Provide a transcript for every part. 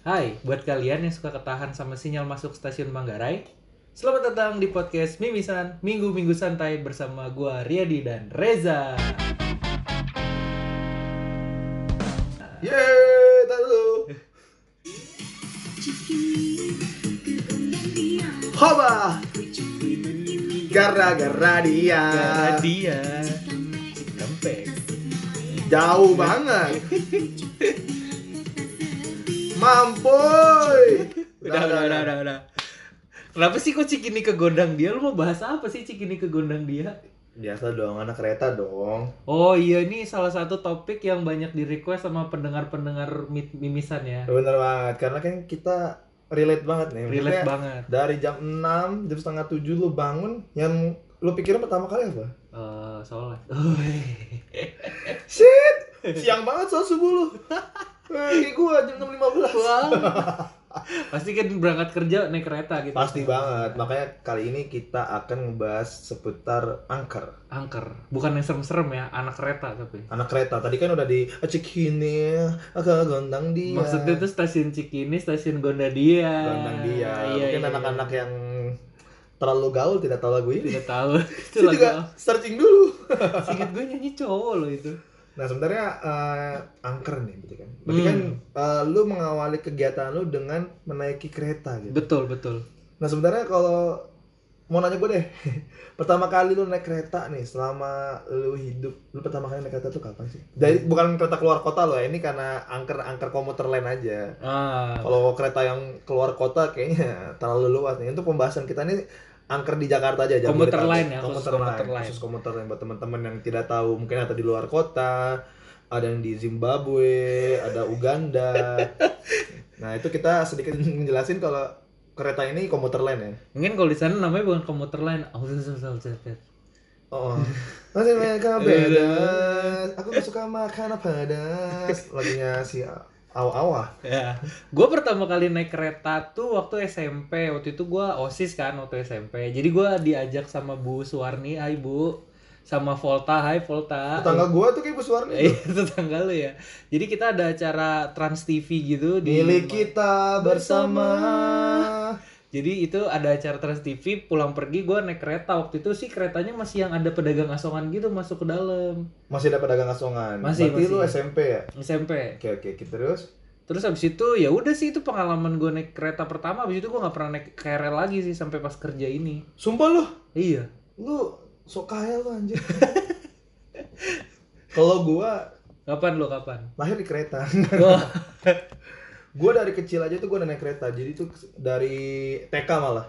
Hai, buat kalian yang suka ketahan sama sinyal masuk stasiun Manggarai, selamat datang di podcast Mimisan Minggu-Minggu Santai bersama gua Riyadi dan Reza. Yeay, tak dulu. Hoba. Gara-gara dia. dia lempeng. Jauh banget. Mampoy. Udah, udah, udah, udah, udah. Kenapa sih kok Cikini ke gondang dia? Lu mau bahas apa sih Cikini ke gondang dia? Biasa dong, anak kereta dong. Oh iya, ini salah satu topik yang banyak di request sama pendengar-pendengar mi- mimisan ya. Bener banget, karena kan kita relate banget nih. Relate Maksudnya, banget. Dari jam 6, jam setengah 7 lu bangun, yang lu pikirin pertama kali apa? Eh, soalnya. Shit, siang banget soal subuh Eh, lu. Kayak gua jam 6.15. Pasti kan berangkat kerja naik kereta gitu. Pasti banget. Makanya kali ini kita akan ngebahas seputar angker. angker bukan yang serem-serem ya anak kereta tapi Anak kereta. Tadi kan udah di Cikini, agak gondang dia. maksudnya itu stasiun Cikini stasiun Gondadia gondang dia. iya, Mungkin iya, anak-anak iya. yang terlalu gaul tidak tahu lagu ini. tidak tahu itu Saya lagu juga searching dulu. singkat gue nyanyi cowok loh itu Nah, sebenarnya eh, angker nih berarti kan. Berarti Hmm. kan eh, lu mengawali kegiatan lu dengan menaiki kereta gitu. betul betul Nah, sebenarnya kalau mau nanya gue deh, pertama kali lu naik kereta nih selama lu hidup, lu pertama kali naik kereta tuh kapan sih? Dari Hmm. bukan kereta keluar kota loh, ya. ini karena angker-angker komuter lain aja. ah Kalau kereta yang keluar kota kayaknya terlalu luas nih. Untuk pembahasan kita nih angker di Jakarta aja. jangan Komuter Jabodetabek. lain ya, khusus komuter komuter lain, lain. khusus komuter lain buat teman-teman yang tidak tahu mungkin ada di luar kota, ada yang di Zimbabwe, ada Uganda. nah itu kita sedikit menjelasin kalau kereta ini komuter lain ya. mungkin kalau di sana namanya bukan komuter lain oh betul, betul, betul, betul. Oh, masih mereka beda. Aku gak suka makan pedas. Lagunya si Awa-Awa. ya gue pertama kali naik kereta tuh waktu SMP waktu itu gue osis kan waktu SMP jadi gue diajak sama Bu Suwarni Hai Bu sama Volta Hai Volta Tetangga gua tuh kayak Bu Suwarni. Iya, tetangga lu ya. Jadi kita ada acara Trans TV gitu di Milik kita bersama. Jadi itu ada acara Trans TV, pulang pergi gua naik kereta. Waktu itu sih keretanya masih yang ada pedagang asongan gitu masuk ke dalam Masih ada pedagang asongan. Masih, Berarti masih. lu SMP ya? SMP. Oke, oke. Kita terus. Terus habis itu ya udah sih itu pengalaman gua naik kereta pertama. Habis itu gua nggak pernah naik KRL lagi sih sampai pas kerja ini. Sumpah lu, Iya. lu sok kaya lu anjir. kalau gua Kapan lo kapan? lahir di kereta. Wah, Gua dari kecil aja tuh gua udah naik kereta. Jadi tuh dari TK malah.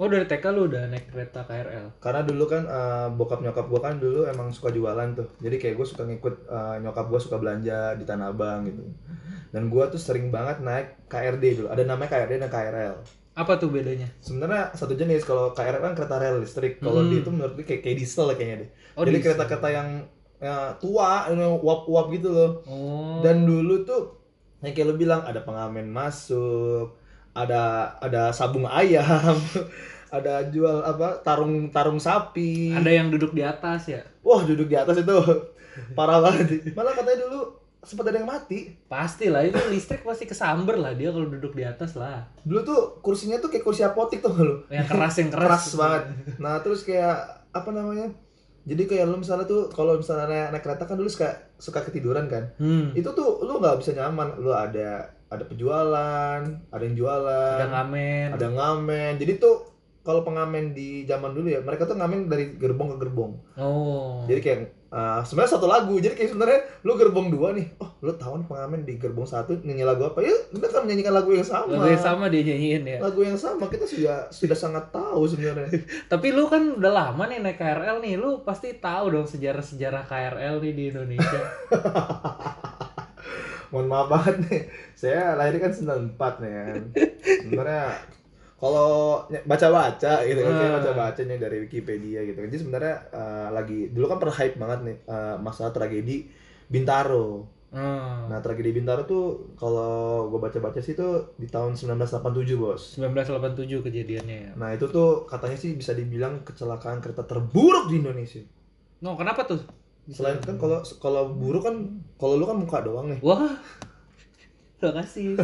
oh dari TK lu udah naik kereta KRL. karena dulu kan eh, bokap nyokap gue kan dulu emang suka jualan tuh jadi kayak gue suka ngikut eh, nyokap gue suka belanja di tanah abang gitu dan gue tuh sering banget naik KRD dulu ada namanya KRD dan KRL Apa tuh bedanya? sebenarnya satu jenis kalau KRL kan kereta rel listrik kalau Hmm. di itu menurut gue kayak, kayak diesel kayaknya deh Oh, jadi di- kereta-kereta yang ya, tua yang uap-uap gitu loh Oh. dan dulu tuh yang kayak lo bilang ada pengamen masuk ada ada sabung ayam ada jual apa tarung tarung sapi ada yang duduk di atas ya? Wah duduk di atas itu parah banget. Malah katanya dulu sempat ada yang mati. Pasti lah, itu listrik pasti kesamber lah dia kalau duduk di atas lah. Dulu tuh kursinya tuh kayak kursi apotik tuh lo. Yang keras yang keras. Keras banget. Nah terus kayak apa namanya? Jadi kayak lu misalnya tuh kalau misalnya naik, naik kereta kan dulu suka suka ketiduran kan. Hmm. Itu tuh lu nggak bisa nyaman. Lu ada ada penjualan, ada yang jualan, Ada ngamen. eh, ada ngamen. Jadi tuh kalau pengamen di zaman dulu ya, mereka tuh ngamen dari gerbong ke gerbong. Oh. Jadi kayak eh, sebenarnya satu lagu. Jadi kayak sebenarnya lu gerbong dua nih. Oh, lu tahu nih pengamen di gerbong satu nyanyi lagu apa? Ya, kita kan menyanyikan lagu yang sama. Lagu yang sama dia nyanyiin ya. Lagu yang sama. Kita sudah sudah sangat tahu sebenarnya. Tapi lu kan udah lama nih naik KRL nih, lu pasti tahu dong sejarah-sejarah KRL nih di Indonesia. Mohon maaf banget nih. Saya lahir kan 94 nih kan. Sebenarnya kalau ny- baca-baca gitu kan, saya Ah. baca-bacanya dari Wikipedia gitu kan. Jadi sebenarnya eh, lagi dulu kan per hype banget nih eh, masalah tragedi Bintaro. hmm. Nah, tragedi Bintaro tuh kalau gue baca-baca sih tuh di tahun 1987, Bos. 1987 kejadiannya ya. Nah itu tuh katanya sih bisa dibilang kecelakaan kereta terburuk di Indonesia. No, kenapa tuh? ya. Selain kan kalau kalau buruk kan kalau lu kan muka doang nih. Wah, Terima kasih.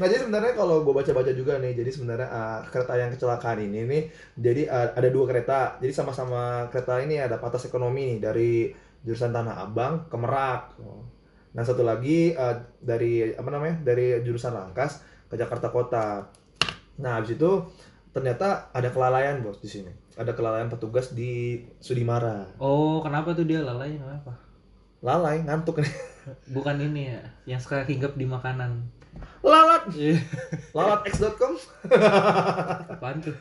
Nah jadi sebenarnya kalau gue baca-baca juga nih, jadi sebenarnya uh, kereta yang kecelakaan ini nih, jadi uh, ada dua kereta, jadi sama-sama kereta ini ada patas ekonomi nih, dari jurusan Tanah Abang ke Merak. Nah satu lagi uh, dari apa namanya dari jurusan Rangkas ke Jakarta Kota. Nah habis itu ternyata ada kelalaian bos di sini, ada kelalaian petugas di Sudimara. Oh, kenapa tuh dia lalai kenapa? Lalai ngantuk nih, Bukan ini ya, yang suka hinggap di makanan. lalat, Ih, lalatx.com Apaan tuh?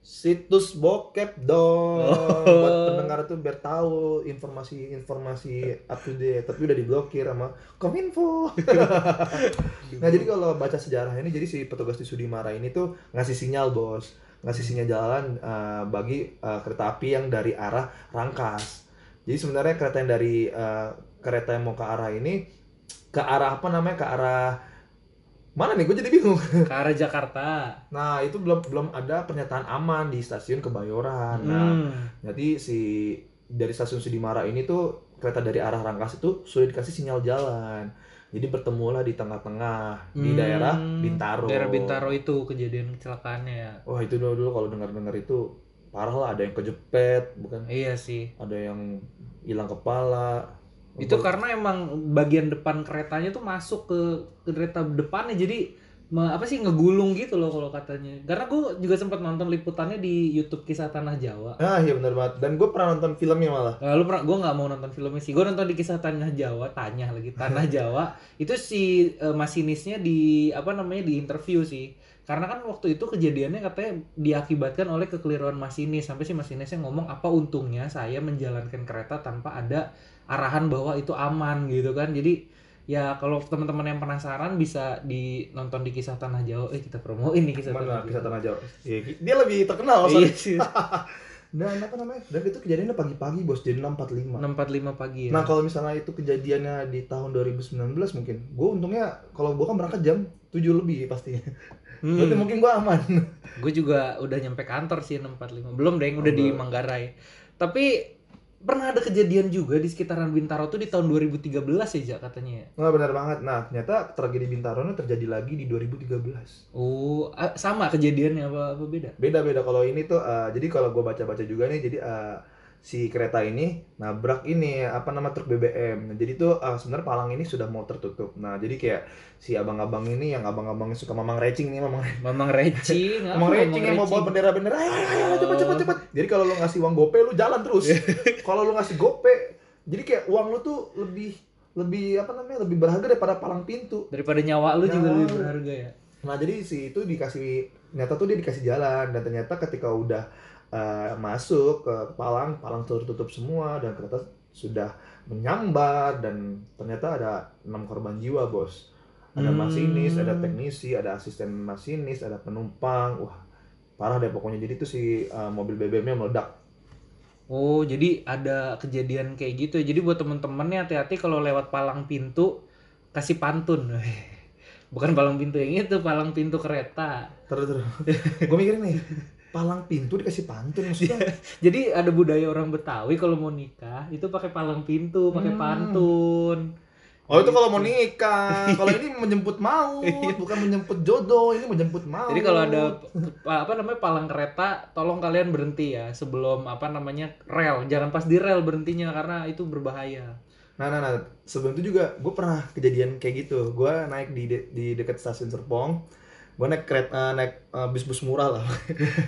situs bokep dong Oh. buat pendengar tuh biar tahu informasi-informasi up to date tapi udah diblokir sama kominfo nah jadi kalau baca sejarah ini jadi si petugas di Sudimara ini tuh ngasih sinyal bos ngasih sinyal jalan eh, bagi eh, kereta api yang dari arah Rangkas jadi sebenarnya kereta yang dari eh, kereta yang mau ke arah ini ke arah apa namanya ke arah mana nih gue jadi bingung ke arah Jakarta. Nah, itu belum belum ada pernyataan aman di stasiun Kebayoran. Nah, Hmm. jadi si dari stasiun Sudimara ini tuh kereta dari arah Rangkas itu sudah dikasih sinyal jalan. Jadi bertemulah di tengah-tengah di Hmm. daerah Bintaro. Daerah Bintaro itu kejadian kecelakaannya ya. Wah, itu dulu, dulu kalau dengar-dengar itu parah lah ada yang kejepet, bukan Iya sih. ada yang hilang kepala. Itu Ber- karena emang bagian depan keretanya tuh masuk ke ke kereta depannya jadi me- apa sih ngegulung gitu loh kalau katanya. Karena gue juga sempat nonton liputannya di YouTube kisah tanah Jawa. Ah, iya benar banget. Dan gue pernah nonton filmnya malah. Lalu Eh, pernah gue nggak mau nonton filmnya sih. Gue nonton di kisah tanah Jawa, tanya lagi tanah Jawa. Itu si eh, masinisnya di apa namanya di interview sih. Karena kan waktu itu kejadiannya katanya diakibatkan oleh kekeliruan masinis sampai si masinisnya ngomong apa untungnya saya menjalankan kereta tanpa ada arahan bahwa itu aman gitu kan. Jadi ya kalau teman-teman yang penasaran bisa di nonton di kisah tanah Jawa. Eh kita promoin nih kisah tanah Mana kisah Jawa. tanah Jawa? Iya, Dia lebih terkenal Iya soalnya. sih. Dan apa namanya? Dan itu kejadiannya pagi-pagi, Bos. Jadi 6.45. 6.45 pagi ya. Nah kalau misalnya itu kejadiannya di tahun 2019 mungkin Gue untungnya kalau gue kan berangkat jam 7 lebih pastinya Hmm. Berarti mungkin gue aman Gue juga udah nyampe kantor sih 645. Belum deh, udah Oh, di belum. Manggarai. Tapi pernah ada kejadian juga di sekitaran Bintaro tuh di tahun 2013 ya, Jak, katanya. ya? Nah benar banget Nah ternyata tragedi Bintaro ini terjadi lagi di 2013 Oh, ah, sama kejadiannya apa apa beda? Beda-beda kalau ini tuh eh, Jadi kalau gue baca-baca juga nih Jadi eh, si kereta ini nabrak ini apa nama truk BBM. Nah, jadi tuh eh, sebenarnya Palang ini sudah mau tertutup. Nah jadi kayak si abang-abang ini yang abang-abang suka mamang recing nih mamang Mamang Reci, ngapa Emang recing yang mau bawa bendera-bendera, ayo, ayo, ayo, cepet, cepet, cepet. Jadi kalau lu ngasih uang gope, lu jalan terus. kalau lu ngasih gope, jadi kayak uang lu tuh lebih lebih apa namanya lebih berharga daripada palang pintu. Daripada nyawa lu juga Nyawa lebih lu. berharga ya. Nah jadi si itu dikasih, ternyata tuh dia dikasih jalan dan ternyata ketika udah eh, masuk ke palang, palang tertutup semua dan ternyata sudah menyambar dan ternyata ada enam korban jiwa bos. Ada Hmm. masinis, ada teknisi, ada asisten masinis, ada penumpang. Wah parah deh pokoknya. Jadi tuh si eh, mobil BBM-nya meledak. Oh, jadi ada kejadian kayak gitu ya. Jadi buat temen-temen nih hati-hati kalau lewat palang pintu kasih pantun. Bukan palang pintu yang itu, palang pintu kereta. Terus terus. Gue mikirin nih, palang pintu dikasih pantun maksudnya. Jadi ada budaya orang Betawi kalau mau nikah itu pakai palang pintu, pakai Hmm. pantun. Oh itu kalau mau nikah. Kalau ini menjemput maut, Gitu. Iya. bukan menjemput jodoh. Ini menjemput maut. Jadi kalau ada Oh. pa- apa namanya palang kereta, tolong kalian berhenti ya sebelum apa namanya rel. Jangan pas di rel berhentinya karena itu berbahaya. Nah, nah, nah. Sebelum itu juga gue pernah kejadian kayak gitu. Gue naik di de- di dekat stasiun Serpong. Gue naik kereta naik eh, bus-bus murah lah.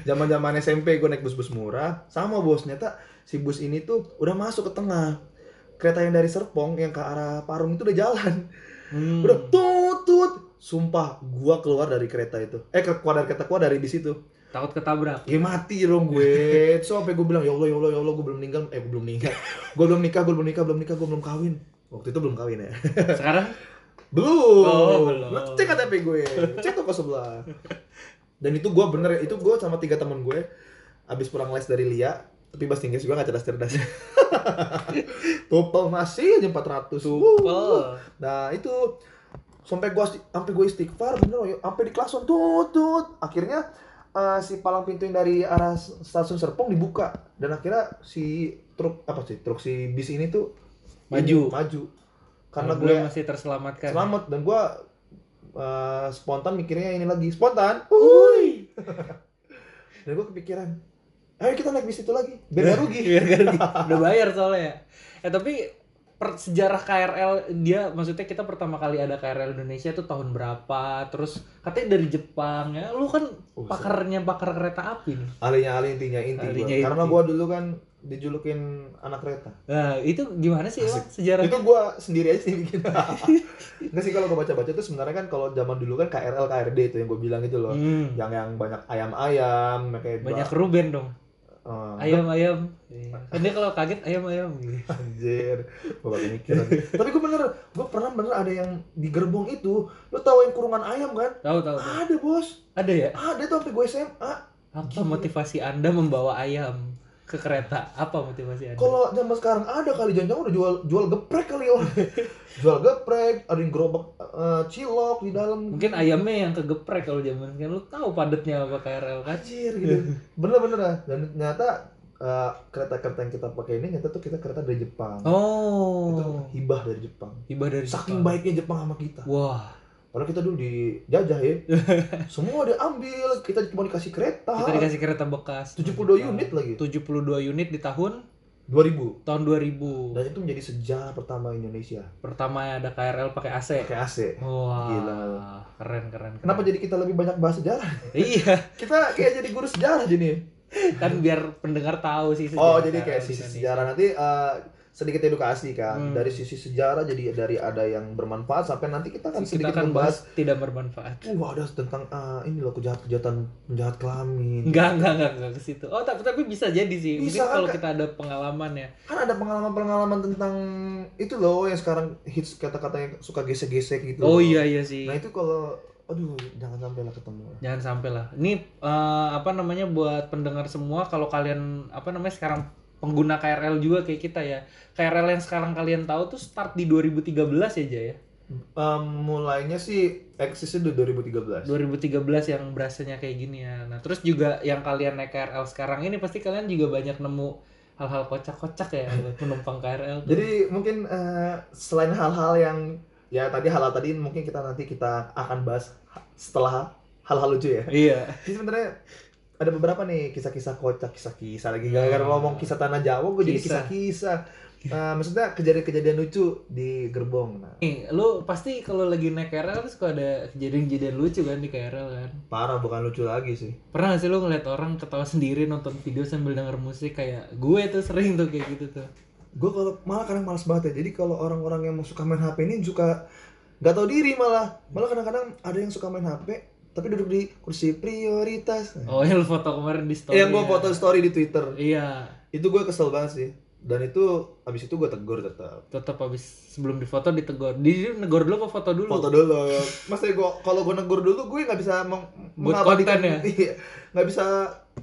Zaman-zaman SMP gue naik bus-bus murah. Sama bos, ternyata si bus ini tuh udah masuk ke tengah. Kereta yang dari Serpong yang ke arah Parung itu udah jalan. Hmm. Udah tut tut. Sumpah, gua keluar dari kereta itu. Eh, ke- keluar dari kereta, keluar dari bis itu. Takut ketabrak. Ya mati dong gue. So, sampai gue bilang, ya Allah, ya Allah, ya Allah, gue belum meninggal. Eh, gue belum meninggal. gue belum nikah, gue belum nikah, belum nikah, gue belum kawin. Waktu itu belum kawin ya. Sekarang Belum. Oh, belum. Lu Cek KTP gue. Cek toko sebelah. Dan itu gue bener ya, itu gue sama tiga temen gue abis pulang les dari Lia, tapi bahasa Inggris gue gak cerdas-cerdas. Tupel masih aja 400. Wuh. oh, Nah itu sampai gua sampai gua istighfar bener sampai di klakson tut tut akhirnya eh, si palang pintu yang dari arah stasiun Serpong dibuka dan akhirnya si truk apa sih truk si bis ini tuh Maju. maju karena Kalau gue belum masih terselamatkan. selamat dan gue eh, spontan mikirnya ini lagi spontan Uy. dan gue kepikiran ayo kita naik bis itu lagi Iya. biar nggak rugi Biar nggak rugi. Udah bayar soalnya. Ya tapi per- sejarah KRL dia maksudnya kita pertama kali ada KRL Indonesia itu tahun berapa terus katanya dari Jepang ya lu kan Oh, pakarnya pakar kereta api nih alinya ali intinya inti gua. Alinya inti. karena gue dulu kan dijulukin anak kereta nah, itu gimana sih emang sejarah itu gue sendiri aja sih bikin nggak sih kalau gue baca-baca itu sebenarnya kan kalau zaman dulu kan KRL KRD itu yang gue bilang itu loh Ya, Hmm. yang yang banyak ayam-ayam kayak banyak Ruben dong Eh, ayam-ayam kan dia kalau kaget ayam-ayam gitu Anjir, gue pakai mikiran. Tapi gue bener, gue pernah bener ada yang di gerbong itu, lo tau yang kurungan ayam kan? tahu tahu tahu. Ada bos, ada ya ada tuh sampai gue SMA. apa Gila. motivasi anda membawa ayam ke kereta apa motivasi anda Kalau zaman sekarang ada kali jangan udah jual jual geprek kali orang. jual geprek, ada yang gerobak eh, cilok di dalam. mungkin ayamnya yang kegeprek kalau zaman kan lu tahu padatnya apa KRL kan Anjir gitu. Bener-bener lah. Dan ternyata eh, kereta-kereta yang kita pakai ini ternyata tuh kita kereta dari Jepang. Itu oh hibah dari Jepang. hibah dari Gitu. Saking Jepang. baiknya Jepang sama kita. wah Padahal kita dulu dijajah ya. Semua diambil, kita cuma dikasih kereta. kita dikasih kereta bekas 72 unit lagi. 72 unit di tahun 2000. tahun 2000 Dan itu menjadi sejarah pertama Indonesia pertama ada KRL pakai AC pakai AC. wah Gila. keren keren, keren. Kenapa jadi kita lebih banyak bahas sejarah? iya Kita kayak jadi guru sejarah jadi. kan biar pendengar tahu Iya, kan, sih Oh, sejarah jadi KRL kayak di sisi Indonesia. sejarah nanti eh, sedikit edukasi kan Hmm. dari sisi sejarah jadi dari ada yang bermanfaat sampai nanti kita akan Terus kita kan sedikit akan membahas bahas tidak bermanfaat Wah ada tentang eh, ini loh kejahatan kejahatan penjahat kelamin. Enggak, enggak, enggak, enggak ke situ. Oh, tapi tapi bisa jadi sih. Bisa, kan, Mungkin kalau Kak. kita ada pengalaman ya. kan ada pengalaman-pengalaman tentang itu loh yang sekarang hits kata-kata yang suka gesek-gesek gitu. Oh loh. iya iya sih. Nah itu kalau aduh jangan sampai lah ketemu. lah. Jangan sampai lah. Ini eh, apa namanya buat pendengar semua kalau kalian apa namanya sekarang pengguna KRL juga kayak kita ya. KRL yang sekarang kalian tahu tuh start di 2013 ya Jaya. Em, mulainya sih eksisnya di 2013 2013. yang berasanya kayak gini ya. Nah, terus juga yang kalian naik KRL sekarang ini pasti kalian juga banyak nemu hal-hal kocak-kocak ya buat penumpang KRL. tuh. Jadi mungkin eh, selain hal-hal yang ya tadi hal-hal tadi mungkin kita nanti kita akan bahas ha- setelah hal-hal lucu ya. iya. Jadi sebenarnya ada beberapa nih kisah-kisah kocak, kisah-kisah lagi Hmm. gara-gara ngomong kisah tanah Jawa gue jadi Kisah. kisah-kisah. Eh, maksudnya kejadian-kejadian lucu di gerbong. Nah, Nih, lu pasti kalau lagi naik KRL terus suka ada kejadian-kejadian lucu kan di KRL kan. parah bukan lucu lagi sih. Pernah gak sih lu ngeliat orang ketawa sendiri nonton video sambil denger musik kayak gue tuh sering tuh kayak gitu tuh. gue kalau malah kadang malas banget ya jadi kalau orang-orang yang suka main HP ini suka nggak tahu diri malah malah kadang-kadang ada yang suka main HP tapi duduk di kursi prioritas Oh, yang lu foto kemarin di story. Iya, yang gue ya. foto story di Twitter Iya, itu gue kesel banget sih dan itu abis itu gue tegur tetap tetap habis sebelum difoto ditegur. Di negor dulu apa foto dulu? foto dulu maksudnya gue kalau gue negur dulu gue nggak bisa meng Buat mengabadikan- konten ya? iya nggak bisa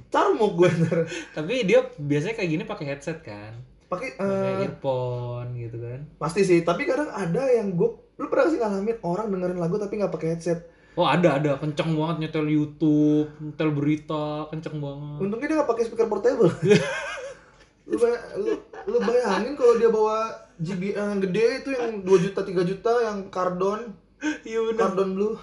carmuk gue ntar Tapi dia biasanya kayak gini pakai headset kan. pakai eh, Pakai earphone gitu kan. pasti sih tapi kadang ada yang gue lu pernah nggak sih ngalamin orang dengerin lagu tapi nggak pakai headset Oh, ada ada kenceng banget nyetel YouTube, nyetel berita, kenceng banget. Untungnya dia nggak pakai speaker portable. lu, bay- lu, lu bayangin kalau dia bawa JBL yang gede itu yang 2 juta 3 juta yang kardon Iya bener. kardon blue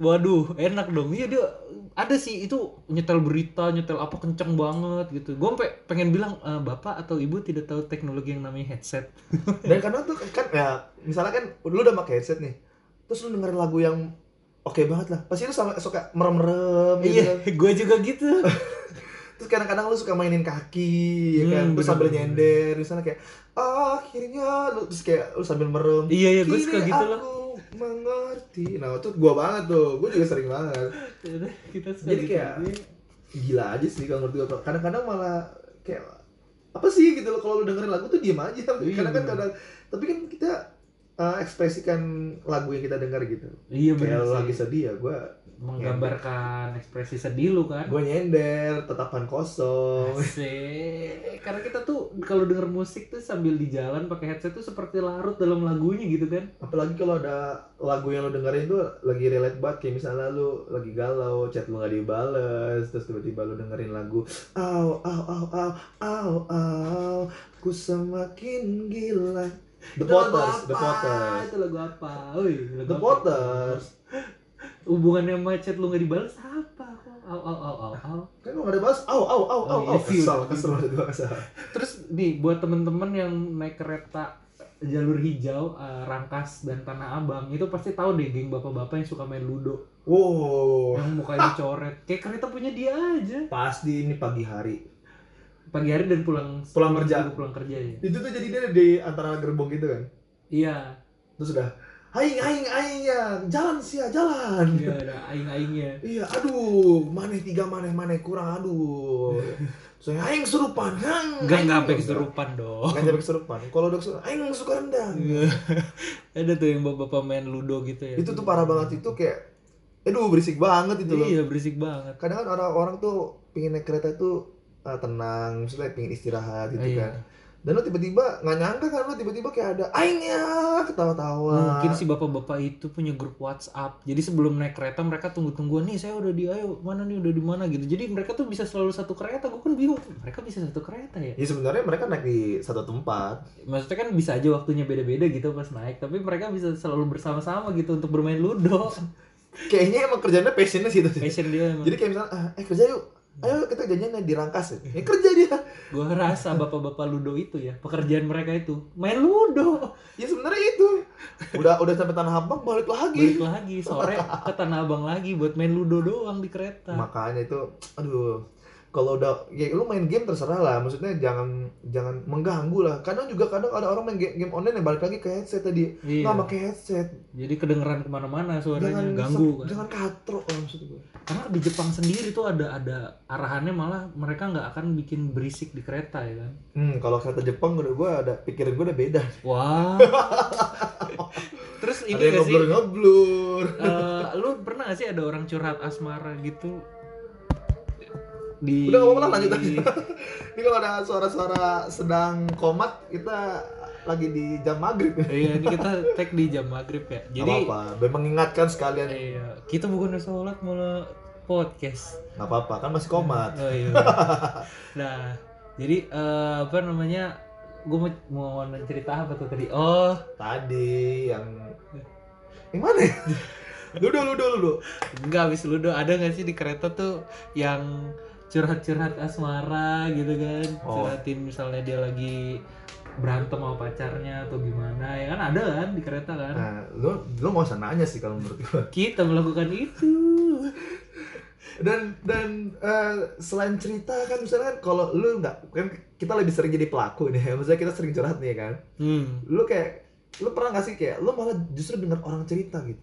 Waduh, enak dong. Iya dia ada sih itu nyetel berita, nyetel apa kenceng banget gitu. Gue sampai pengen bilang "Eh, bapak atau ibu tidak tahu teknologi yang namanya headset. dan karena tuh kan ya misalnya kan lu udah pakai headset nih terus lu dengerin lagu yang oke banget lah pasti lu sama suka merem merem gitu kan. Iya, gue juga gitu. terus kadang-kadang lu suka mainin kaki ya Hmm, kan terus sambil bener-bener. nyender misalnya kayak akhirnya lu terus kayak lu sambil merem iya iya, gue ah. suka gitu loh. aku mengerti nah itu gua banget tuh gua juga sering banget Kita suka Jadi gitu. kayak- gila aja sih kalau menurut gue kadang-kadang malah kayak apa sih gitu loh kalau lu dengerin lagu tuh diem aja Iya, kadang kan bener. kadang tapi kan kita uh, ekspresikan lagu yang kita dengar gitu Iya kayak benar lu lagi sih. sedih ya gue Menggambarkan ekspresi sedih lu kan. gue nyender tatapan kosong Asik. Karena kita tuh kalau denger musik tuh sambil di jalan pakai headset tuh seperti larut dalam lagunya gitu kan. apalagi kalau ada lagu yang lu dengerin tuh lagi relate banget kayak misalnya lu lagi galau chat lu gak dibales terus tiba-tiba lu dengerin lagu au au au au au au ku semakin gila Itu The lagu Potters, The apa? Potters. Itu lagu apa? Oi, lagu The apa? Potters. Hubungannya macet lu nggak dibalas apa kok? Au au au au au. Kan lu gak ada bahas, au, au, au, au, Oh, au. iya, view. Kesel, kesel, ada gua kesel. Terus nih buat temen-temen yang naik kereta jalur hijau, eh, Rangkas dan Tanah Abang itu pasti tahu deh geng bapak-bapak yang suka main ludo, Wow, yang mukanya dicoret. Kayak kereta punya dia aja. pasti ini pagi hari. Pagi hari dan pulang Pulang kerja. Pulang kerja ya. Itu tuh jadi dia di antara gerbong gitu kan. Iya, Terus udah, aing, aing, aing ya, jalan sih ya, jalan. iya ada aing-aingnya. Iya, aduh, maneh tiga maneh maneh kurang, aduh. Soalnya aing kesurupan, hang. Enggak aing." enggak sampai kesurupan dong. Nggak sampai kesurupan. Kalau udah kesurupan, aing suka rendang. Iya. ada tuh yang bapak-bapak main ludo gitu ya. Itu tuh parah banget itu kayak, aduh berisik banget itu gitu loh. Iya, berisik banget. Kadang kan orang-orang tuh pingin naik kereta itu eh, tenang, maksudnya pingin istirahat gitu Iya. kan. Dan lo tiba-tiba nggak nyangka kan lo tiba-tiba kayak ada aingnya ketawa-tawa. Mungkin si bapak-bapak itu punya grup WhatsApp. Jadi sebelum naik kereta mereka tunggu-tungguan nih, saya udah di ayo mana nih udah di mana gitu. Jadi mereka tuh bisa selalu satu kereta. Gue kan bingung, mereka bisa satu kereta ya? Ya sebenarnya mereka naik di satu tempat. Maksudnya kan bisa aja waktunya beda-beda gitu pas naik, tapi mereka bisa selalu bersama-sama gitu untuk bermain ludo. Kayaknya emang kerjanya passionnya sih itu. sih. Passion dia emang. Jadi kayak misalnya, "Ah, eh kerja yuk. Ayo kita janjian di rangkas. Ya kerja dia. Gue rasa bapak-bapak ludo itu ya, pekerjaan mereka itu main ludo. Ya sebenarnya itu. Udah udah sampai tanah abang balik Balik lagi. lagi sore ke Tanah Abang lagi buat main ludo doang di kereta. Makanya itu aduh. Kalau udah ya lu main game terserah lah. Maksudnya jangan jangan mengganggu lah. Kadang juga kadang ada orang main ga- game, online yang balik lagi ke headset tadi. Iya. Nggak pakai headset. Jadi kedengeran kemana-mana suaranya Jangan ganggu se- kan. Jangan katrok lah maksud gue. Karena di Jepang sendiri tuh ada ada arahannya malah mereka nggak akan bikin berisik di kereta ya kan. Hmm, kalau kata Jepang udah gue ada pikiran gue udah beda. Wah. Terus ini ada yang gak sih? ngeblur ngeblur. eh, lu pernah gak sih ada orang curhat asmara gitu? Di Udah nggak apa-apa lah, lanjut aja. Ini kalau ada suara-suara sedang komat kita lagi di jam maghrib. Iya, ini kita tag di jam maghrib ya. Jadi Jadi apa, apa mengingatkan sekalian iya, kita bukan udah sholat malah podcast. nggak apa-apa kan masih komat. Oh iya. nah, jadi eh, apa namanya? Gue mau, mau cerita apa tuh tadi? Oh, Tadi yang yang mana? ya? Ludo ludo ludo. enggak habis ludo ada nggak sih di kereta tuh yang curhat-curhat asmara gitu kan? Oh. Curhatin misalnya dia lagi berantem sama pacarnya atau gimana ya kan ada kan di kereta kan Nah, lu lu nggak usah nanya sih kalau menurut gua. kita melakukan itu Dan dan eh, selain cerita kan misalnya kan kalau lu nggak kan kita lebih sering jadi pelaku nih. Maksudnya kita sering curhat nih ya kan. hmm. Lu kayak lu pernah nggak sih kayak lu malah justru dengar orang cerita gitu.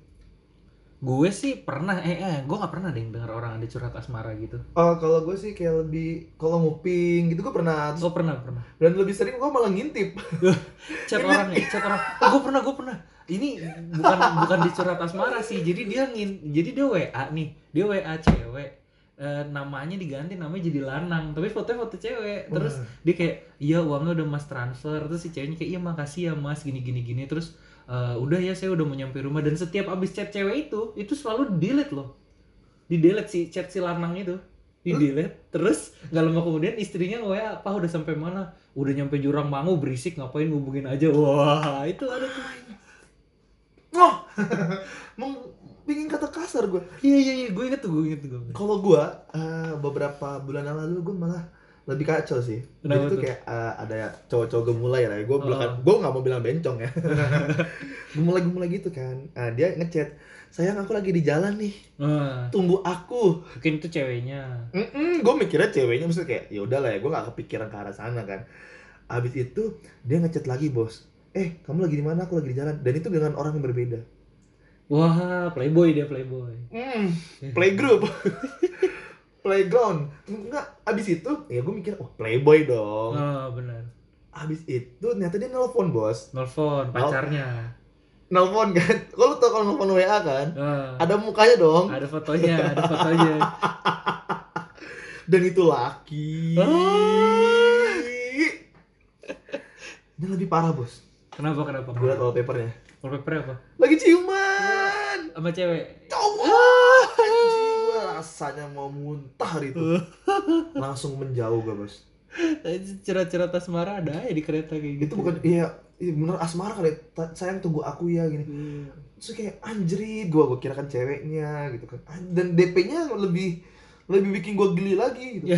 gue sih pernah eh, eh gue nggak pernah deh denger orang ada curhat asmara gitu Oh, kalau gue sih kayak lebih kalau nguping gitu gue pernah oh pernah pernah dan lebih sering gue malah ngintip. chat Ini- orang ya, chat orang. Oh, gue pernah, gue pernah. Ini bukan bukan dicurhat asmara sih. Jadi dia ngin, jadi dia WA nih, dia WA cewek. Eh, namanya diganti namanya jadi lanang tapi fotonya foto cewek terus dia kayak iya uangnya udah mas transfer terus si ceweknya kayak iya makasih ya mas gini gini gini terus "Eh, udah ya saya udah mau nyampe rumah dan setiap abis chat cewek itu itu selalu di delete loh di delete si chat si lanang itu di delete terus nggak lama kemudian istrinya wa apa udah sampai mana udah nyampe jurang mangu berisik ngapain ngubungin aja wah itu ada tuh Wah, Meng- pingin kata kasar gue. iya iya iya gue inget tuh gue inget tuh gue inget. Kalau gue eh, beberapa bulan yang lalu gue malah lebih kacau sih. Kenapa Jadi tuh tuh? kayak eh, ada cowok-cowok gemulai lah. ya. Gue Oh. belakang, gue nggak mau bilang bencong ya. gemulai-gemulai gitu kan. Ah, dia ngechat, sayang aku lagi di jalan nih, Nah, tunggu aku. mungkin itu ceweknya gue mikirnya ceweknya maksudnya kayak ya udahlah ya, gue nggak kepikiran ke arah sana kan. Abis itu dia ngechat lagi bos. Eh, kamu lagi di mana? Aku lagi di jalan. Dan itu dengan orang yang berbeda. wah playboy dia playboy Hmm, playgroup. Playground. Enggak, abis itu ya gue mikir, oh playboy dong. ah benar Abis itu ternyata dia nelpon bos. nelfon pacarnya Nelpon kan. Kalau tau kalau nelpon WA kan, Ah, ada mukanya dong. ada fotonya ada fotonya Dan itu laki. Ah. Dan lebih parah bos. kenapa kenapa Gue liat wallpapernya. wallpaper apa Lagi ciuman. sama cewek Cowok. Anjing, gua rasanya mau muntah hari itu. Langsung menjauh gue bos. cerah-cerah asmara ada ya di kereta kayak gitu itu bukan iya Ih bener asmara kali ya, Ta- sayang tunggu aku ya gini terus kayak anjrit gua gua kira kan ceweknya gitu kan An- dan DP-nya lebih lebih bikin gua geli lagi Ya. gitu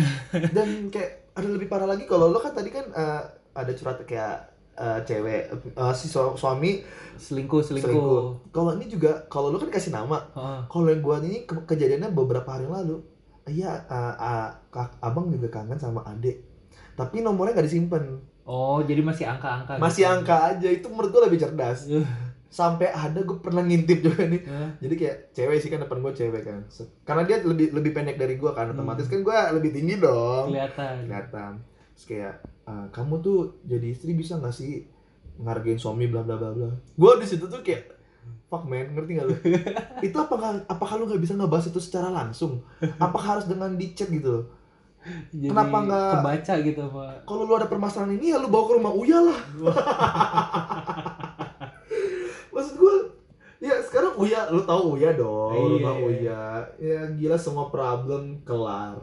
dan kayak ada lebih parah lagi kalau lo kan tadi kan eh, ada curhat kayak eh, cewek eh, si su- suami selingkuh Selingkuh. selingkuh. kalau ini juga kalau lo kan kasih nama Heeh. kalau yang gua ini ke- kejadiannya beberapa hari lalu iya eh, eh, kak- abang juga kangen sama adek tapi nomornya nggak disimpan Oh, jadi masih angka-angka. masih gitu. angka aja itu menurut gua lebih cerdas Eh, sampai ada gue pernah ngintip juga nih eh, jadi kayak cewek sih kan depan gue cewek kan Se- karena dia lebih lebih pendek dari gue kan otomatis kan gue lebih tinggi dong kelihatan. kelihatan terus kayak "Ah, kamu tuh jadi istri bisa gak sih ngargain suami bla bla bla bla gue di situ tuh kayak fuck man ngerti gak lu itu apakah apakah lu nggak bisa ngebahas itu secara langsung apakah harus dengan di chat gitu loh Jadi Kenapa nggak- kebaca gitu, Pak? kalau lu ada permasalahan ini ya lu bawa ke rumah Uya lah maksud gue ya sekarang Uya lu tahu Uya dong Iya, rumah iya. Uya ya gila semua problem kelar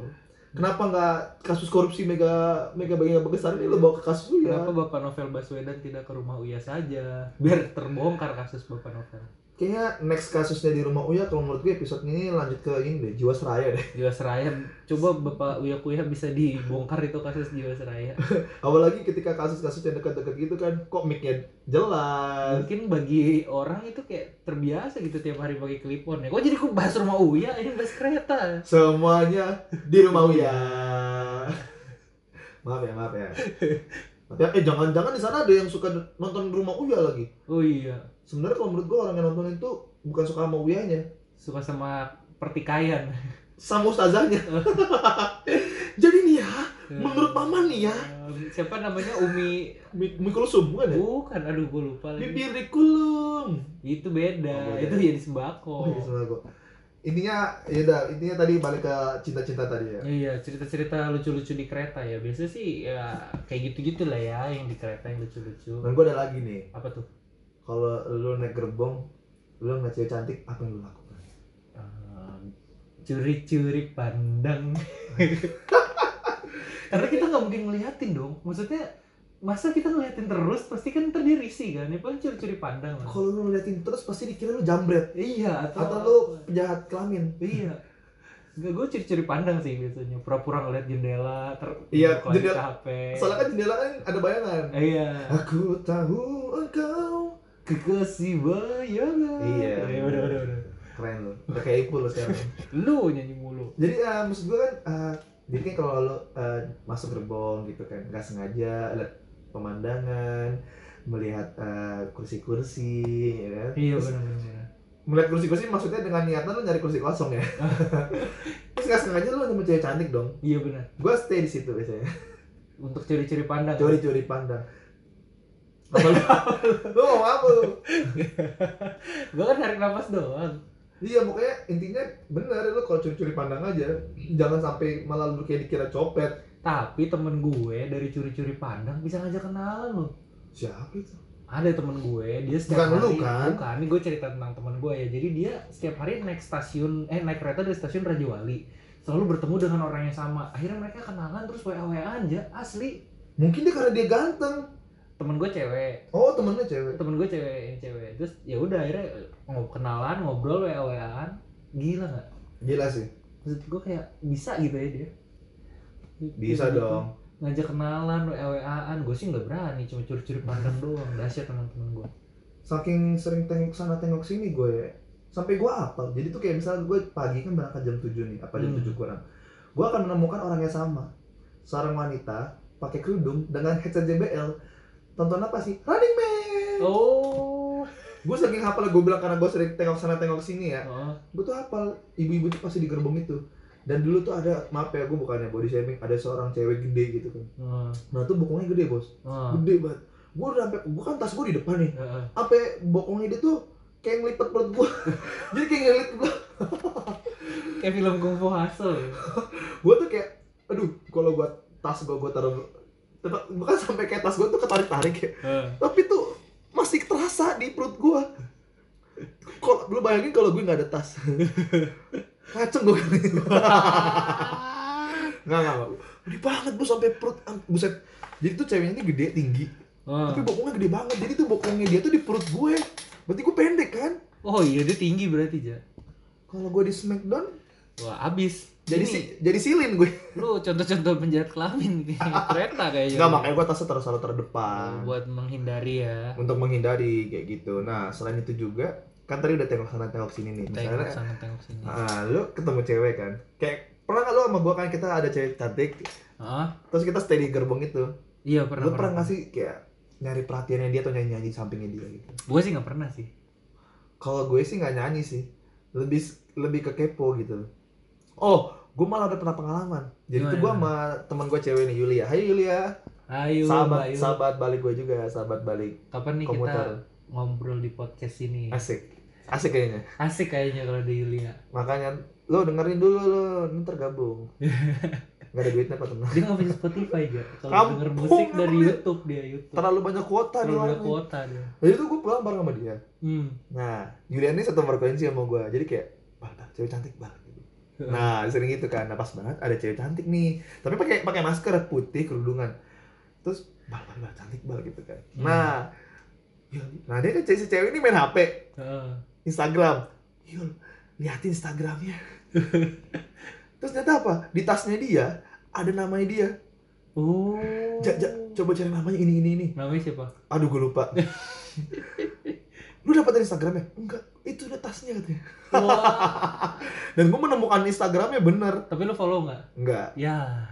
kenapa nggak kasus korupsi mega mega bagian besar ini lu bawa ke kasus Kenapa Uya Bapak Novel Baswedan tidak ke rumah Uya saja? Biar terbongkar kasus Bapak Novel. kayaknya next kasusnya di rumah Uya kalau menurut gue episode ini lanjut ke ini deh Jiwasraya deh Jiwasraya, coba Bapak Uya Kuya bisa dibongkar itu kasus Jiwasraya. apalagi ketika kasus-kasus yang dekat-dekat gitu kan kok mic-nya jelas Mungkin bagi orang itu kayak terbiasa gitu tiap hari pakai klipon ya. Kok jadi kok bahas rumah Uya ini bahas kereta? Semuanya di rumah Uya. maaf ya, maaf ya. Maaf ya. Eh jangan-jangan di sana ada yang suka nonton rumah Uya lagi. Oh iya, Sebenarnya kalau menurut gua orang yang nonton itu bukan suka sama Uyanya, suka sama pertikaian. sama ustazahnya. Jadi nih ya, menurut paman nih ya, Eh, Siapa namanya Umi? mi- Mikulsum bukan ya? Bukan, aduh gue lupa lagi. Bibir dikulum. Itu beda, Oh, beda. itu jadi sembako. Oh, iya, salah gua. Intinya ya udah, intinya tadi balik ke cinta-cinta tadi ya. Iya, cerita-cerita lucu-lucu di kereta ya. Biasanya sih ya kayak gitu-gitu lah ya yang di kereta yang lucu-lucu. Dan gua ada lagi nih. Apa tuh? Kalau lu naik gerbong, lu ngeliat cewek cantik, apa yang lu lakukan? Ehm, curi-curi pandang. Karena kita nggak mungkin ngeliatin dong. Maksudnya masa kita ngeliatin terus pasti kan ntar dia risih kan. Ya paling curi-curi pandang lah. kalau lu ngeliatin terus pasti dikira lu jambret Iya, atau, atau lu penjahat kelamin Iya. Enggak, gue curi-curi pandang sih biasanya. Pura-pura ngeliat jendela, ter Iya, ngeliat jendela. HP. soalnya kan jendela kan ada bayangan Iya. aku tahu engkau Kekasih bayangan. Iya. Ya, udah, udah, udah. keren lu udah kayak ipul lu sekarang Lu nyanyi mulu. jadi eh, maksud gua kan eh, jadi kan kalau lu eh, masuk gerbong gitu kan nggak sengaja lihat pemandangan melihat eh, kursi-kursi ya kan Iya Terus benar-benar. melihat kursi-kursi maksudnya dengan niatan lu nyari kursi kosong ya terus nggak sengaja lu nemu cewek cantik dong Iya benar. gua stay di situ biasanya Untuk curi-curi pandang. curi-curi pandang apa lu, lu mau apa lu Gue kan narik nafas doang. iya pokoknya intinya bener lu kalau curi-curi pandang aja jangan sampai malah lu kayak dikira copet Tapi temen gue dari curi-curi pandang bisa ngajak kenalan loh. siapa itu Ada temen gue, dia setiap Bukan lu, hari kan? Bukan, ini gue cerita tentang temen gue ya Jadi dia setiap hari naik stasiun, eh naik kereta dari stasiun Raja Wali Selalu bertemu dengan orang yang sama Akhirnya mereka kenalan terus wa aja, asli mungkin dia karena dia ganteng Temen gue cewek, oh temennya cewek temen gue cewek, yang cewek Terus ya udah akhirnya ngob kenalan, ngobrol, wa-waan Gila gak? gila sih Maksud gue kayak bisa gitu ya dia bisa Gitu. dong ngajak kenalan, wa-waan, gue sih nggak berani, cuma curi-curi pandang doang, dahsyat teman-teman gue. saking sering tengok sana tengok sini gue ya sampai gue apa jadi tuh kayak misalnya gue pagi kan berangkat jam 7 nih apa jam Hmm. 7 kurang gue akan menemukan orang yang sama seorang wanita pakai kerudung dengan headset JBL tonton apa sih Running Man Oh, gue saking hafal gue bilang karena gue sering tengok sana tengok sini ya oh, gue tuh hafal ibu-ibu tuh pasti di gerbong itu dan dulu tuh ada maaf ya gue bukannya body shaming ada seorang cewek gede gitu kan oh, nah tuh bokongnya gede bos oh. gede banget gue udah sampai gue kan tas gue di depan nih Heeh. sampai bokongnya dia tuh kayak ngelipet perut gue jadi kayak ngelipet gue Kayak film Kung Fu Hustle. gue tuh kayak aduh kalau gue tas gue gue taruh tetap bukan sampai kayak tas gue tuh ketarik tarik ya Heeh. tapi tuh masih terasa di perut gua kalau lu bayangin kalau gue nggak ada tas kan. kaceng gue kali nggak nggak nggak. gede banget gue sampai perut am- buset jadi tuh ceweknya ini gede tinggi Ah. Tapi bokongnya gede banget. Jadi tuh bokongnya dia tuh di perut gue. Berarti gue pendek kan? Oh iya dia tinggi berarti ja. Kalau gue di Smackdown, Wah abis. jadi Ini, si, jadi silin gue. Lu contoh-contoh penjahat kelamin di kereta kayaknya. Enggak makanya gue tasnya terus selalu terdepan. Oh, Buat menghindari ya. untuk menghindari kayak gitu. Nah, selain itu juga kan tadi udah tengok sana tengok sini nih. Tengok Misalnya sana tengok sini. ah, lu ketemu cewek kan. Kayak pernah gak lu sama gua kan kita ada cewek cantik Ah, terus kita stay di gerbong itu. iya pernah. lu pernah nggak sih kayak nyari perhatiannya dia atau nyanyi-nyanyi di sampingnya dia gitu. Gue sih nggak pernah sih. Kalau gue sih nggak nyanyi sih. Lebih lebih ke kepo gitu. Oh, gue malah ada pernah pengalaman. Jadi tuh gue Gimana? sama teman gue cewek nih Yulia. Hai Yulia. Ayo, sahabat Bayu. sahabat balik gue juga, sahabat balik Kapan nih komuter. kita ngobrol di podcast ini? Asik. Asik kayaknya. Asik kayaknya kalau ada Yulia. makanya lo dengerin dulu lo ntar gabung nggak ada duitnya pak tenang Dia nggak punya Spotify aja. Kalau Kampung, denger musik dari emang dia. YouTube dia YouTube. terlalu banyak kuota nih Terlalu ada orang nih. kuota dia. jadi tuh gue pulang bareng sama dia Hmm. nah Julian ini satu frekuensi sama gue jadi kayak bal bal cewek cantik bal gitu. nah sering gitu kan nah pas banget ada cewek cantik nih tapi pakai pakai masker putih kerudungan terus bal bal bal cantik bal gitu kan Hmm. nah Yul, nah dia kan cewek si cewek ini main HP Heeh. Instagram Yul liatin Instagramnya terus ternyata apa di tasnya dia ada namanya dia Oh. Ja, ja, coba cari namanya ini ini ini. Namanya siapa? Aduh gue lupa. Lu dapat dari Instagramnya? Enggak, itu udah tasnya katanya. Wah. Dan gue menemukan Instagramnya bener. Tapi lu follow nggak? Enggak. Ya.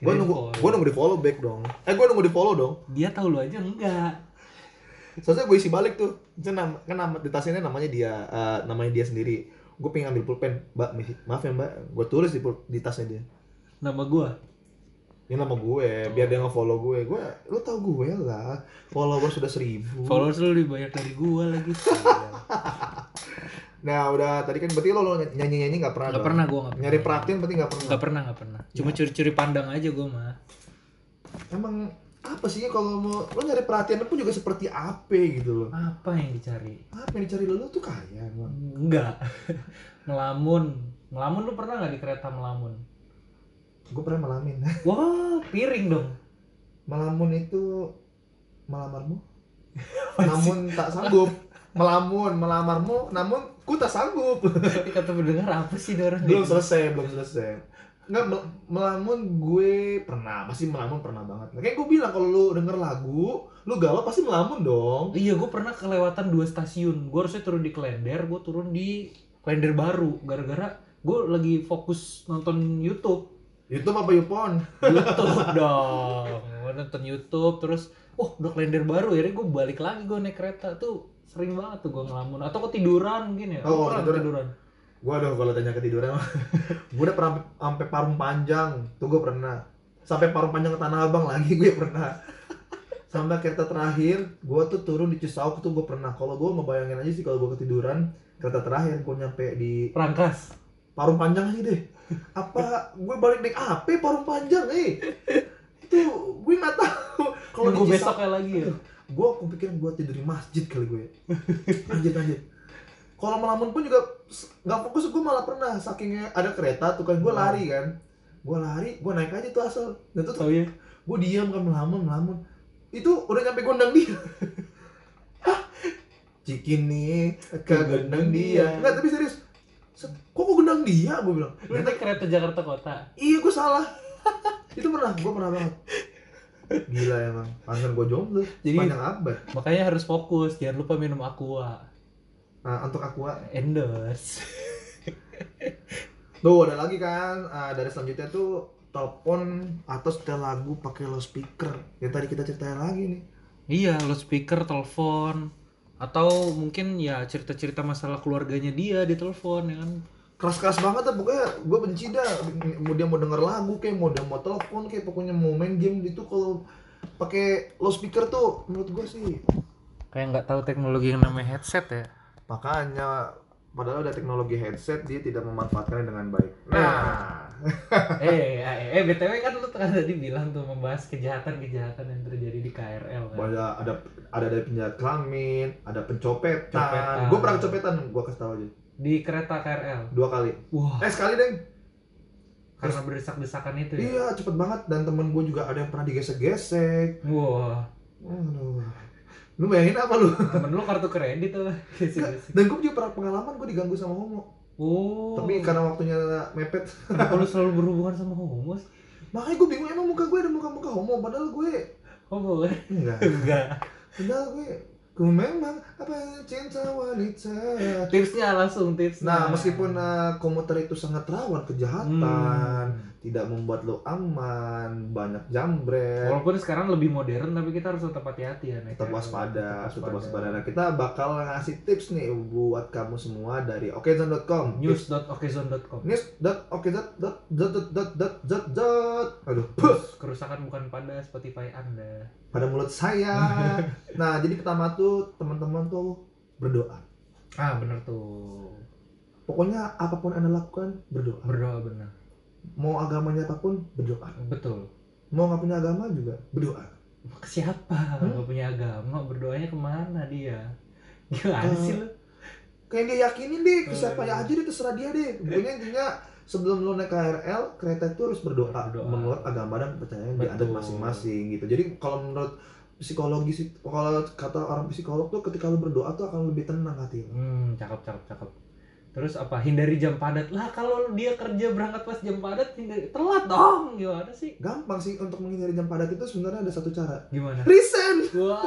Gue Kirain nunggu, gue follow. nunggu di follow back dong. Eh gue nunggu di follow dong. Dia tahu lu aja enggak. Soalnya gue isi balik tuh. Itu nam- kan nama, di tasnya ini namanya dia, eh, namanya dia sendiri. Gue pengen ambil pulpen. Mbak, mi- maaf ya mbak. Gue tulis di, pul- di tasnya dia. Nama gua. Ini nama gue, biar dia nge-follow gue. Gue, lu tau gue lah. Follower sudah seribu. Followers lu lebih banyak dari gua lagi. Nah udah, tadi kan berarti lo, lo nyanyi-nyanyi gak pernah Gak dong? pernah gua nggak pernah. nyari perhatian berarti nggak pernah Gak pernah gak pernah. Cuma curi-curi pandang aja gua mah. emang apa sih kalau mau lo nyari perhatian pun juga seperti apa gitu loh Apa yang dicari? apa yang dicari lo lo tuh kaya emang Enggak. melamun. Melamun lu pernah nggak di kereta melamun? gue pernah melamin Wah, piring dong. melamun itu melamarmu namun tak sanggup melamun melamarmu namun ku tak sanggup Kata pendengar apa sih dia orang belum kayak gitu? selesai belum selesai Nggak, mel- melamun gue pernah, pasti melamun pernah banget. Nah, kayak gue bilang kalau lu denger lagu, lu galau pasti melamun dong. Iya, gue pernah kelewatan dua stasiun. Gue harusnya turun di Klender, gue turun di Klender baru. Gara-gara gue lagi fokus nonton YouTube. YouTube apa Yupon? YouTube dong. Gua nonton YouTube, terus, wah udah Klender baru. ya." Akhirnya gue balik lagi, gue naik kereta. Tuh sering banget tuh gue ngelamun. Atau ketiduran mungkin ya. Oh, Lu pernah ketiduran. ketiduran. Gua aduh kalau tanya ketiduran mah. gua udah pernah sampai parung panjang, tuh gua pernah. Sampai parung panjang ke Tanah Abang lagi gue pernah. Sampai kereta terakhir, gua tuh turun di Cisauk tuh gua pernah. Kalau gua ngebayangin aja sih kalau gua ketiduran, kereta terakhir gua nyampe di Perangkas. parung panjang aja deh. Apa gue balik naik apa parung panjang, eh. Itu gue nggak tahu. Kalau Nunggu di Cisauk, besoknya lagi ya. gua aku pikir gua tidur di masjid kali gue. Anjir anjir. Kalau melamun pun juga s- nggak fokus gue malah pernah sakingnya ada kereta tuh kan gue Hmm. lari kan. Gue lari, gue naik aja tuh asal. Dan tuh Oh iya. gue diam kan melamun melamun. Itu udah nyampe gondang dia. Hah? Cikin nih ke gendang dia. Enggak tapi serius. Set, Kok kok gendang dia? Gue bilang. Lu naik kereta Jakarta Kota. Iya gue salah. Itu pernah, gue pernah banget. Gila emang. Pantesan gue jomblo. Jadi- Panjang abad. Makanya harus fokus, jangan lupa minum aqua. Nah, untuk aqua Endorse. Tuh ada lagi kan Ah, dari selanjutnya tuh telepon atau setel lagu pakai loudspeaker yang tadi kita ceritain lagi nih. Iya, loudspeaker, telepon, atau mungkin ya cerita-cerita masalah keluarganya dia di telepon ya kan. Keras-keras banget dah pokoknya gue benci dah mau dia mau denger lagu kayak mau dia mau telepon kayak pokoknya mau main game gitu kalau pakai loudspeaker tuh menurut gue sih Kayak nggak tahu teknologi yang namanya headset ya. makanya padahal ada teknologi headset dia tidak memanfaatkannya dengan baik. Nah, eh, eh, eh, eh, btw kan lu kan tadi bilang tuh membahas kejahatan-kejahatan yang terjadi di KRL kan. ada ada ada dari penjahat kelamin, ada Copetan. pencopetan. Gue pernah kecopetan, gue kasih tau aja Di kereta KRL. dua kali. Wah, Eh sekali Iya, deh. karena berdesak-desakan itu ya. Iya, cepet banget dan temen gue juga ada yang pernah digesek-gesek. Wah, Aduh. Lu bayangin apa lu? Temen lu kartu kredit tuh. Dan gue juga pernah pengalaman gue diganggu sama homo. oh. Tapi karena waktunya mepet. kenapa lu selalu berhubungan sama homo? sih? Makanya gue bingung emang muka gue ada muka-muka homo. Padahal gue Homo kan? enggak. Enggak. Padahal gue gue memang apa cinta wanita. Tipsnya Hmm. langsung tips. Nah, meskipun uh, komuter itu sangat rawan kejahatan, tidak membuat lo aman, banyak jambret, Walaupun sekarang lebih modern tapi kita harus tetap hati-hati ya. Nek. tetap waspada, iya, tetap waspada. Nah, kita bakal ngasih tips nih buat kamu semua dari okezone.com. News.okezone.com news.okezone.com. Aduh, puh, Terus, Kerusakan bukan pada Spotify Anda. pada mulut saya. Nah, jadi pertama tuh teman-teman tuh berdoa. Ah, bener tuh. Pokoknya apapun Anda lakukan, berdoa. Berdoa bener. Mau agamanya apapun, berdoa. Betul. Mau nggak punya agama juga, berdoa. Ke siapa? Hmm? Gak punya agama, berdoanya kemana dia? Gimana Eh, sih lu? kayak yang dia yakinin deh ke siapa Hmm. ya aja deh terserah dia deh pokoknya intinya sebelum lo naik KRL kereta itu harus berdoa, Berdoa. menurut agama dan kepercayaan di adat Betul. masing-masing gitu jadi kalau menurut psikologis itu- kalau kata orang psikolog tuh ketika lo berdoa tuh akan lebih tenang hati lo Hmm, cakep, cakep, cakep. Terus apa? Hindari jam padat. Lah kalau dia kerja berangkat pas jam padat, hindari telat dong. Gimana sih? gampang sih untuk menghindari jam padat itu sebenarnya ada satu cara Gimana? resign Wah,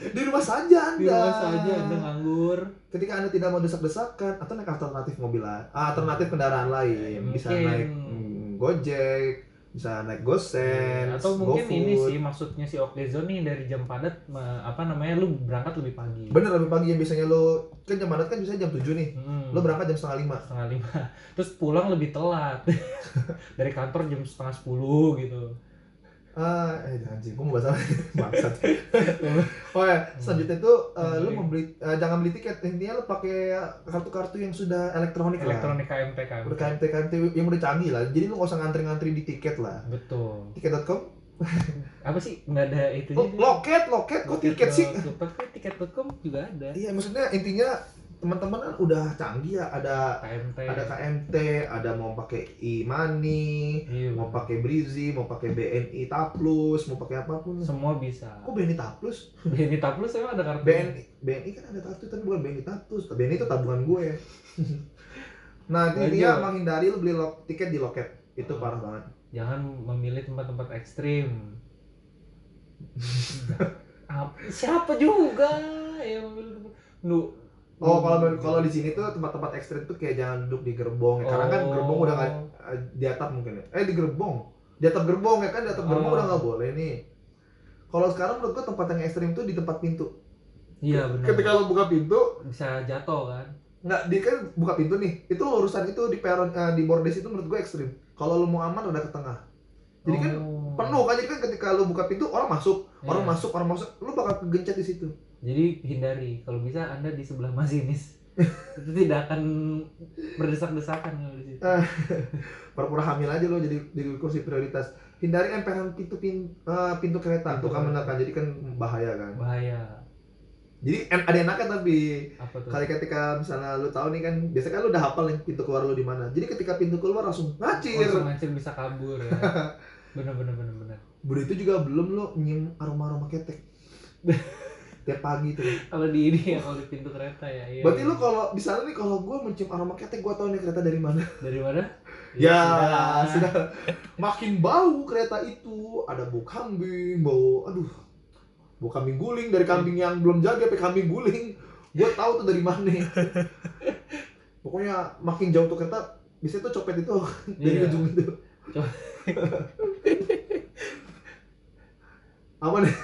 di rumah saja anda di rumah saja Anda nganggur. ketika anda tidak mau desak-desakan atau naik alternatif mobil la- alternatif kendaraan lain bisa Mungkin. naik mm, gojek bisa naik gosen Iya, atau mungkin ini sih maksudnya si Okezone nih dari jam padat me- apa namanya lu berangkat lebih pagi. Bener lebih pagi yang biasanya lo kan jam padat kan biasanya jam 7 nih. Hmm. Lo berangkat jam setengah lima. setengah lima terus pulang lebih telat dari kantor jam setengah sepuluh gitu Ah, eh jangan sih, gue mau bahas apa? Bangsat. oh ya, selanjutnya itu eh, lo mau beli eh, jangan beli tiket, intinya lo pakai kartu-kartu yang sudah elektronik, elektronik KMT lah. KMT Udah KMT KMT yang udah canggih lah. Jadi lo nggak usah ngantri-ngantri di tiket lah. betul Tiket.com? apa sih nggak ada itu Oh, loket, loket, kok tiket sih? tapi tiket.com juga ada Iya, maksudnya intinya teman-teman kan udah canggih ya, ada KMT ada kan? KMT, ada mau pakai e-money, iya, mau pakai Brizi, mau pakai BNI Taplus, mau pakai apapun. semua bisa Kok BNI Taplus? BNI Taplus emang ada kartu BNI BNI kan ada kartu tapi bukan BNI Taplus. BNI itu tabungan gue. nah, Lanjut. intinya menghindari lu beli lo- tiket di loket. Itu parah banget. jangan memilih tempat-tempat ekstrim Apa- siapa juga yang memilih tempat Nu- Oh, kalau Hmm. kalau di sini tuh tempat-tempat ekstrim tuh kayak jangan duduk di gerbong ya. Karena kan gerbong udah nggak Oh. eh, di atap mungkin ya. Eh, di gerbong. Di atap gerbong ya kan, di atap gerbong Oh. udah nggak boleh nih. Kalau sekarang menurut gue tempat yang ekstrim tuh di tempat pintu. iya benar Ketika lo buka pintu, bisa jatuh kan Nggak, dia kan buka pintu nih. Itu urusan itu di peron eh, di bordes itu menurut gue ekstrim. Kalau lu mau aman ada ke tengah. Jadi kan Oh. penuh kan jadi kan ketika lu buka pintu orang masuk, orang Iya. masuk, orang masuk, lu bakal kegencet di situ. Jadi hindari, kalau bisa Anda di sebelah masinis. itu tidak akan berdesak-desakan kalau di situ. Eh. Pura-pura hamil aja lo jadi di kursi prioritas. Hindari emperan pintu pin- eh, pintu kereta Pintu tuh kan kereta. benar kan jadi kan bahaya kan. Bahaya. Jadi en- ada enaknya tapi Apa tuh? kali ketika misalnya lu tahu nih kan biasanya kan lu udah hafal nih pintu keluar lu di mana. Jadi ketika pintu keluar langsung ngacir. Langsung ngancir bisa kabur ya. Bener bener bener bener. Udah itu juga belum lo nyium aroma-aroma ketek. Tiap pagi tuh. Kalau di ini ya, kalau di pintu kereta ya. Iya. Berarti lu kalau misalnya nih kalau gue mencium aroma ketek gue tahu nih kereta dari mana. dari mana? Ya, Iya, sudah. sudah makin bau kereta itu, ada bau kambing, bau aduh. Bau kambing guling dari kambing yang belum jadi sampai kambing guling. Gue tahu tuh dari mana. Pokoknya makin jauh tuh kereta biasanya tuh copet itu dari Iya. ujung itu. Co- Apa nih?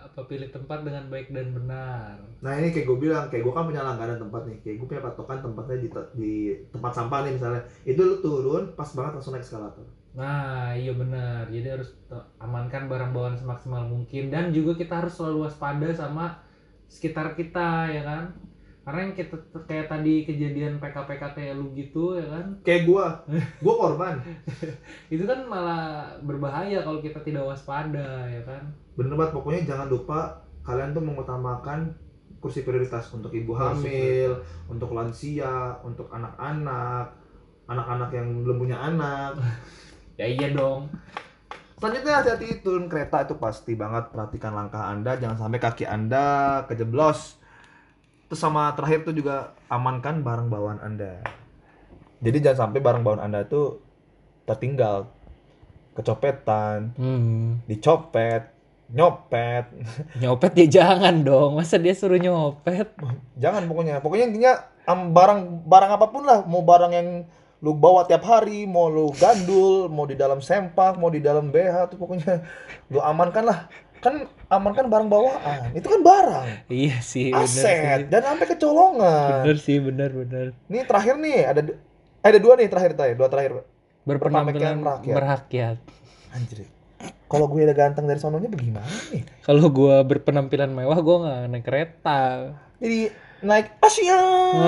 Apa pilih tempat dengan baik dan benar. Nah ini kayak gue bilang, kayak gue kan punya langganan tempat nih Kayak gue punya patokan tempatnya di, te- di tempat sampah nih misalnya Itu lu turun, pas banget langsung naik eskalator Nah, iya benar. Jadi harus te- amankan barang bawaan semaksimal mungkin dan juga kita harus selalu waspada sama sekitar kita, ya kan? Karena yang kita kayak tadi kejadian PKPKT lu gitu, ya kan? Kayak gue, gue korban Itu kan malah berbahaya kalau kita tidak waspada, ya kan? Bener banget, pokoknya jangan lupa Kalian tuh mengutamakan kursi prioritas Untuk ibu hamil, Harus- untuk lansia, untuk anak-anak Anak-anak yang belum punya anak Ya iya dong. Selanjutnya hati-hati turun kereta itu pasti banget perhatikan langkah Anda, jangan sampai kaki Anda kejeblos. Terus sama terakhir tuh juga amankan barang bawaan Anda. Jadi jangan sampai barang bawaan Anda tuh tertinggal, kecopetan, Hmm. dicopet, nyopet. Nyopet ya jangan dong. Masa dia suruh nyopet? Jangan pokoknya. Pokoknya intinya am- barang barang apapun lah, mau barang yang lu bawa tiap hari, mau lu gandul, mau di dalam sempak, mau di dalam BH tuh pokoknya lu amankan lah. Kan amankan barang bawaan. Itu kan barang, Iya sih, bener sih. aset dan sampai kecolongan. Bener sih, bener bener. Nih terakhir nih ada du- eh, ada dua nih terakhir terakhir, dua terakhir. Berpenampilan ya. Berpenampilan rakyat. berhakiat. Anjir. Kalau gue udah ganteng dari sononya bagaimana nih? Kalau gua berpenampilan mewah, gua nggak naik kereta. Jadi naik Asia.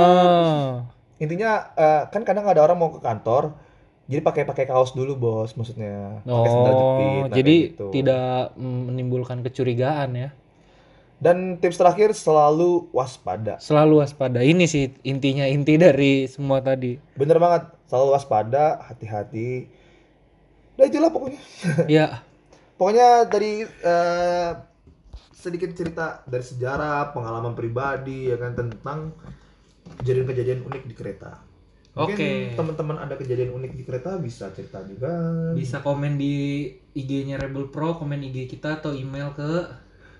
Oh. intinya eh, kan kadang ada orang mau ke kantor jadi pakai pakai kaos dulu bos maksudnya pakai sandal jepit Oh, nah, kayak jadi gitu. tidak mm, menimbulkan kecurigaan ya. dan tips terakhir selalu waspada Selalu waspada. Ini sih intinya inti dari semua tadi. bener banget selalu waspada hati-hati udah itulah pokoknya ya, pokoknya dari eh, sedikit cerita dari sejarah pengalaman pribadi ya kan tentang kejadian-kejadian unik di kereta mungkin Oke. teman-teman ada kejadian unik di kereta bisa cerita juga bisa komen di IG-nya Rebel Pro, komen IG kita atau email ke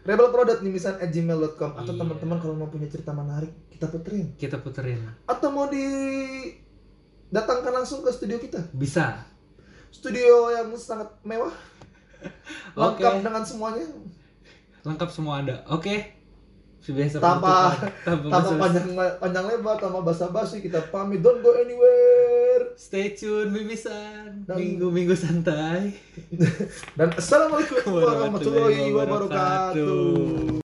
rebelpro.nimisan@gmail.com atau Iya. teman-teman kalau mau punya cerita menarik kita puterin kita puterin. atau mau di datangkan langsung ke studio kita Bisa. studio yang sangat mewah Oke. lengkap dengan semuanya Lengkap semua ada. Oke. Sebiasa penutupan. Tanpa- tanpa, tanpa basa-basi. panjang panjang lebar tanpa basa-basi kita pamit don't go anywhere Stay tune Mimisan. Dan- Minggu-minggu santai. dan assalamualaikum Warahmatullahi warahmatullahi wabarakatuh. wabarakatuh